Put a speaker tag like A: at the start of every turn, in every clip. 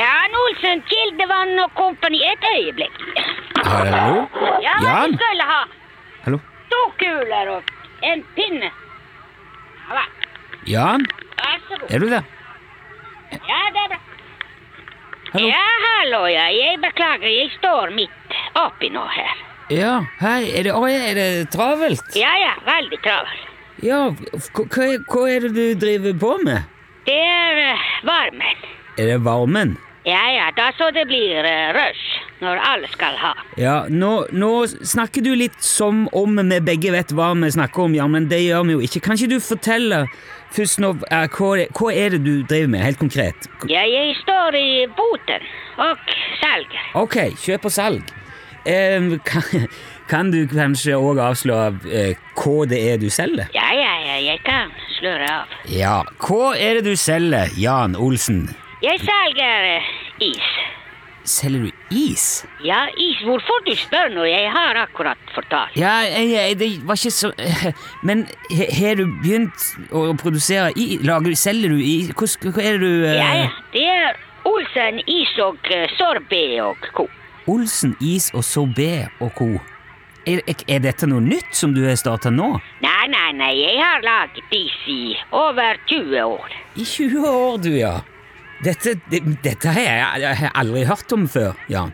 A: Ja, Olsen, Kildevann og kompani, et øyeblikk.
B: Hallo?
A: Ja,
B: Jan?
A: du skulle ha
B: Hallo?
A: to kuler og en pinne. Ja, va.
B: Jan?
A: vær så god.
B: Er du der?
A: Ja, det er bra.
B: Hallo?
A: Ja, hallo, ja. Jeg beklager, jeg står midt oppi nå her.
B: Ja, hei. Er det, å, ja, er det travelt?
A: Ja, ja, veldig travel.
B: Ja, f- hva- hva er- hva er det du driver på med?
A: Det er eh, varmen.
B: Er det varmen?
A: Ja, ja, da så det blir eh, rush når alle skal ha.
B: Ja, nå, nå snakker du litt som om vi begge vet hva vi snakker om, ja, men det gjør vi jo ikke. Kan ikke du fortelle først nå eh, hva, det- hva er det du driver med, helt konkret?
A: Ja, jeg står i boten og selger.
B: Ok, kjøp og salg. Eh, kan, kan du kanskje òg avsløre eh, hva det er du selger?
A: Ja, ja, ja, jeg kan sløre av.
B: Ja, hva er det du selger, Jan Olsen?
A: Jeg selger eh, is.
B: Selger du is?
A: Ja, is. Hvorfor du spør nå? Jeg har akkurat fortalt.
B: Ja, jeg, jeg, det var ikke så Men he- har du begynt å produsere i, lager, Selger du i Hva, hva er det du eh,
A: Ja, ja. Det er Olsen is og eh, sorbet og ko.
B: Olsen is og sorbet og co. Er, er dette noe nytt som du har starta nå?
A: Nei, nei, nei, jeg har laget is i over 20 år.
B: I 20 år, du, ja. Dette, det, dette har jeg, jeg har aldri hørt om før, Jan.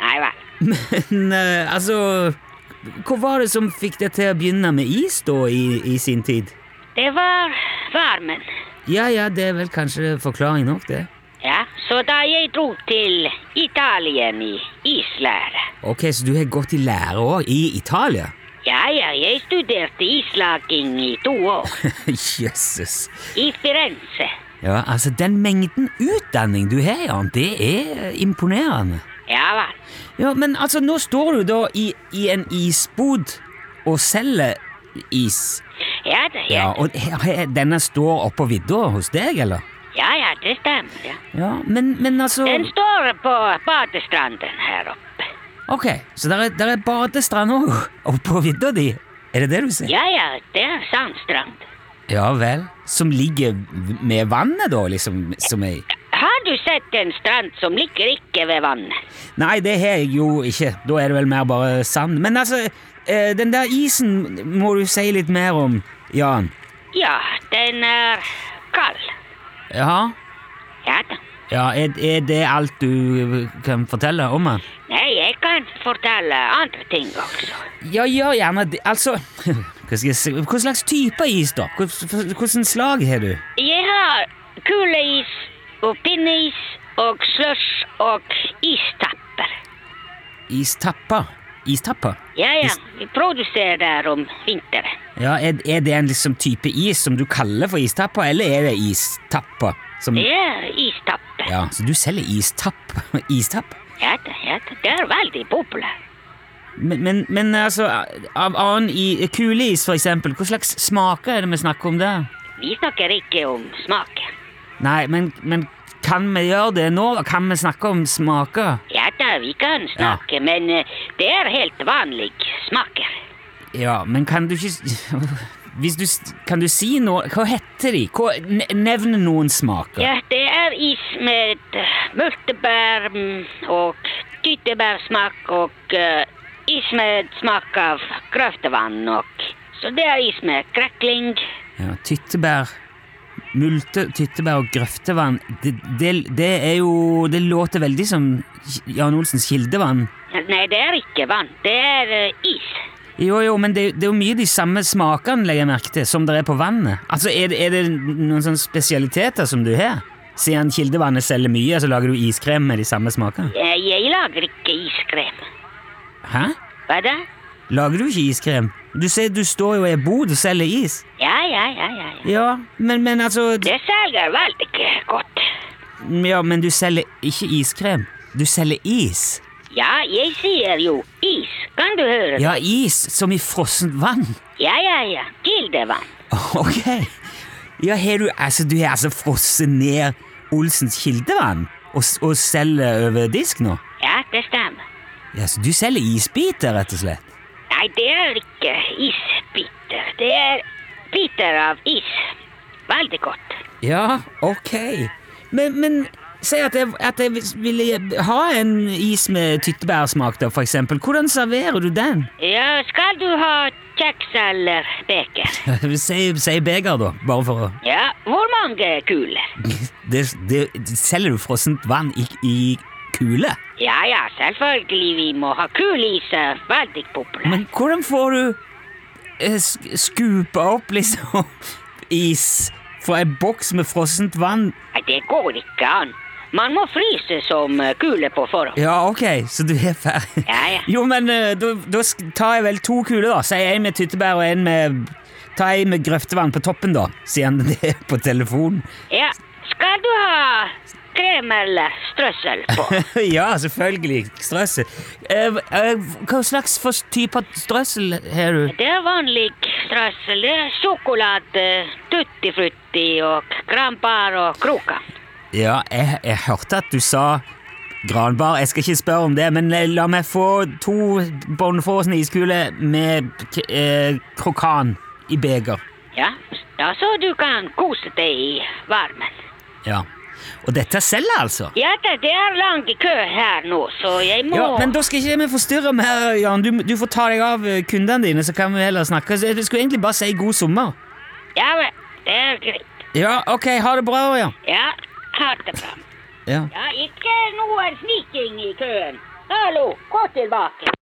A: Nei vel.
B: Men eh, altså Hva var det som fikk deg til å begynne med is, da, i, i sin tid?
A: Det var varmen.
B: Ja ja, det er vel kanskje forklaring nok, det.
A: Ja, så da jeg dro til Italien i islære
B: Ok, Så du har gått i lære òg, i Italia?
A: Ja, ja, jeg studerte islaging i to år.
B: Jøsses.
A: I Firenze.
B: Ja, altså, den mengden utdanning du har, Jan, det er eh, imponerende.
A: Ja vel.
B: Ja, Men altså, nå står du da i, i en isbod og selger is.
A: Ja da, ja.
B: Ja, Og he- he- denne står oppå vidda hos deg, eller?
A: ja, ja, det stemmer. Ja.
B: Ja, men, men altså
A: Den står på badestranden her oppe.
B: Ok, så der er, der er badestrand òg oppå vidda di? Er det det du sier?
A: Ja, ja, det er sandstrand.
B: Ja vel. Som ligger med vannet, da, liksom? Som er
A: Har du sett en strand som ligger ikke ved vannet?
B: Nei, det har jeg jo ikke. Da er det vel mer bare sand. Men altså, eh, den der isen må du si litt mer om, Jan.
A: Ja, den er kald.
B: Ja?
A: Ja da.
B: Ja, er, er det alt du kan fortelle om den?
A: Nei, jeg kan fortelle andre ting også.
B: Ja, gjør gjerne det. Altså hva, skal jeg si? hva slags type is, da? Hva, hvordan slag har du?
A: Jeg har kuleis og pinneis og slush og istapper.
B: Istapper? Istapper?
A: Ja, ja,
B: Is-
A: vi produserer om vinteren.
B: Ja, er, er det en liksom type is som du kaller for istapper, eller er det istapper? Som,
A: Det er istapper.
B: Mm. ja, så du selger istapp? Istapp?
A: Ja da, ja da, det er veldig populært.
B: Men, men, men altså, av annen i, kuleis, for eksempel, hva slags smaker er det vi snakker om der?
A: Vi snakker ikke om smaken.
B: Nei, men, men kan vi gjøre det nå? Kan vi snakke om smaker?
A: Ja da, vi kan snakke, men eh, det er helt vanlig smaker.
B: Ja, men kan du ikke Hvis du Kan du si noe Hva heter de? Hva, ne- nevn noen smaker.
A: Ja, det er is med eh, multebær mm, og tyttebærsmak og eh, is med smak av grøftevann og Så det er is med krekling.
B: Ja, tyttebær Multe, tyttebær og grøftevann det, det, det er jo Det låter veldig som Jan Olsens kildevann.
A: Nei, det er ikke vann. Det er eh, is.
B: Jo, jo, men det, det er jo mye de samme smakene legger jeg merke til, som det er på vannet. Altså, Er det, er det noen sånne spesialiteter som du har? Siden kildevannet selger mye, så lager du iskrem med de samme smakene?
A: Eh, Jeg lager ikke iskrem.
B: Hæ?
A: Hva da?
B: Lager du ikke iskrem? Du ser, du står jo i ei bod og selger is.
A: Ja, ja, ja, ja. ja.
B: Ja, men, men altså
A: Det selger veldig godt.
B: Ja, men du selger ikke iskrem. Du selger is.
A: Ja, jeg sier jo is. Kan du høre?
B: Ja, is som i frossent vann.
A: ja, ja. ja. Kildevann.
B: Ok. Ja, har du altså, du har altså frosset ned Olsens kildevann og, s- og selger over disk nå?
A: Ja, det stemmer.
B: Ja, så du selger isbiter, rett og slett?
A: Nei, det er ikke isbiter. Det er biter av is. Veldig godt.
B: Ja, ok. Men, men Si at jeg, at jeg vis- ville ha en is med tyttebærsmak, da, for eksempel. Hvordan serverer du den?
A: Ja, skal du ha kjeks eller beker?
B: Si, si beger, da, bare for å
A: Ja, hvor mange kuler?
B: det, det, Selger du frossent vann i, i kule?
A: Ja, ja, selvfølgelig vi må ha kulis. eh, Veldig populært.
B: Men hvordan får du eh, sk- skupa opp, liksom, is fra ei boks med frossent vann?
A: Nei, Det går ikke an. Man må fryse som eh, kule på forhånd.
B: Ja, ok, så du er ferdig.
A: Ja, ja.
B: Jo, men eh, da da sk- tar jeg vel to kuler, da. Sier en med tyttebær og en med Ta en med grøftevann på toppen, da, sier han det på telefonen.
A: ja. Skal du ha krem eller strøssel på?
B: ja, selvfølgelig. Strøssel. Eh, eh, hva slags for type av strøssel har du?
A: Det er vanlig strøssel. Det er sjokolade, tutti frutti og krambar og kroka.
B: Ja, jeg, jeg hørte at du sa granbar. Jeg skal ikke spørre om det, men eh, la meg få to Bånnfrosen iskuler med k- eh, krokan i beger.
A: Ja. ja, så du kan kose deg i varmen.
B: Ja. Og dette selger, altså?
A: Ja, det det er lang kø her nå, så jeg må
B: Ja, men da skal ikke vi forstyrre mer, Jan. Du, du får ta deg av eh, kundene dine, så kan vi heller snakke. Så jeg skulle egentlig bare si god sommer.
A: Ja vel, det er greit.
B: Ja, ok. Ha det bra, ja.
A: Ja, ha det bra.
B: ja.
A: Ja, ikke noe sniking i køen. Hallo, gå tilbake.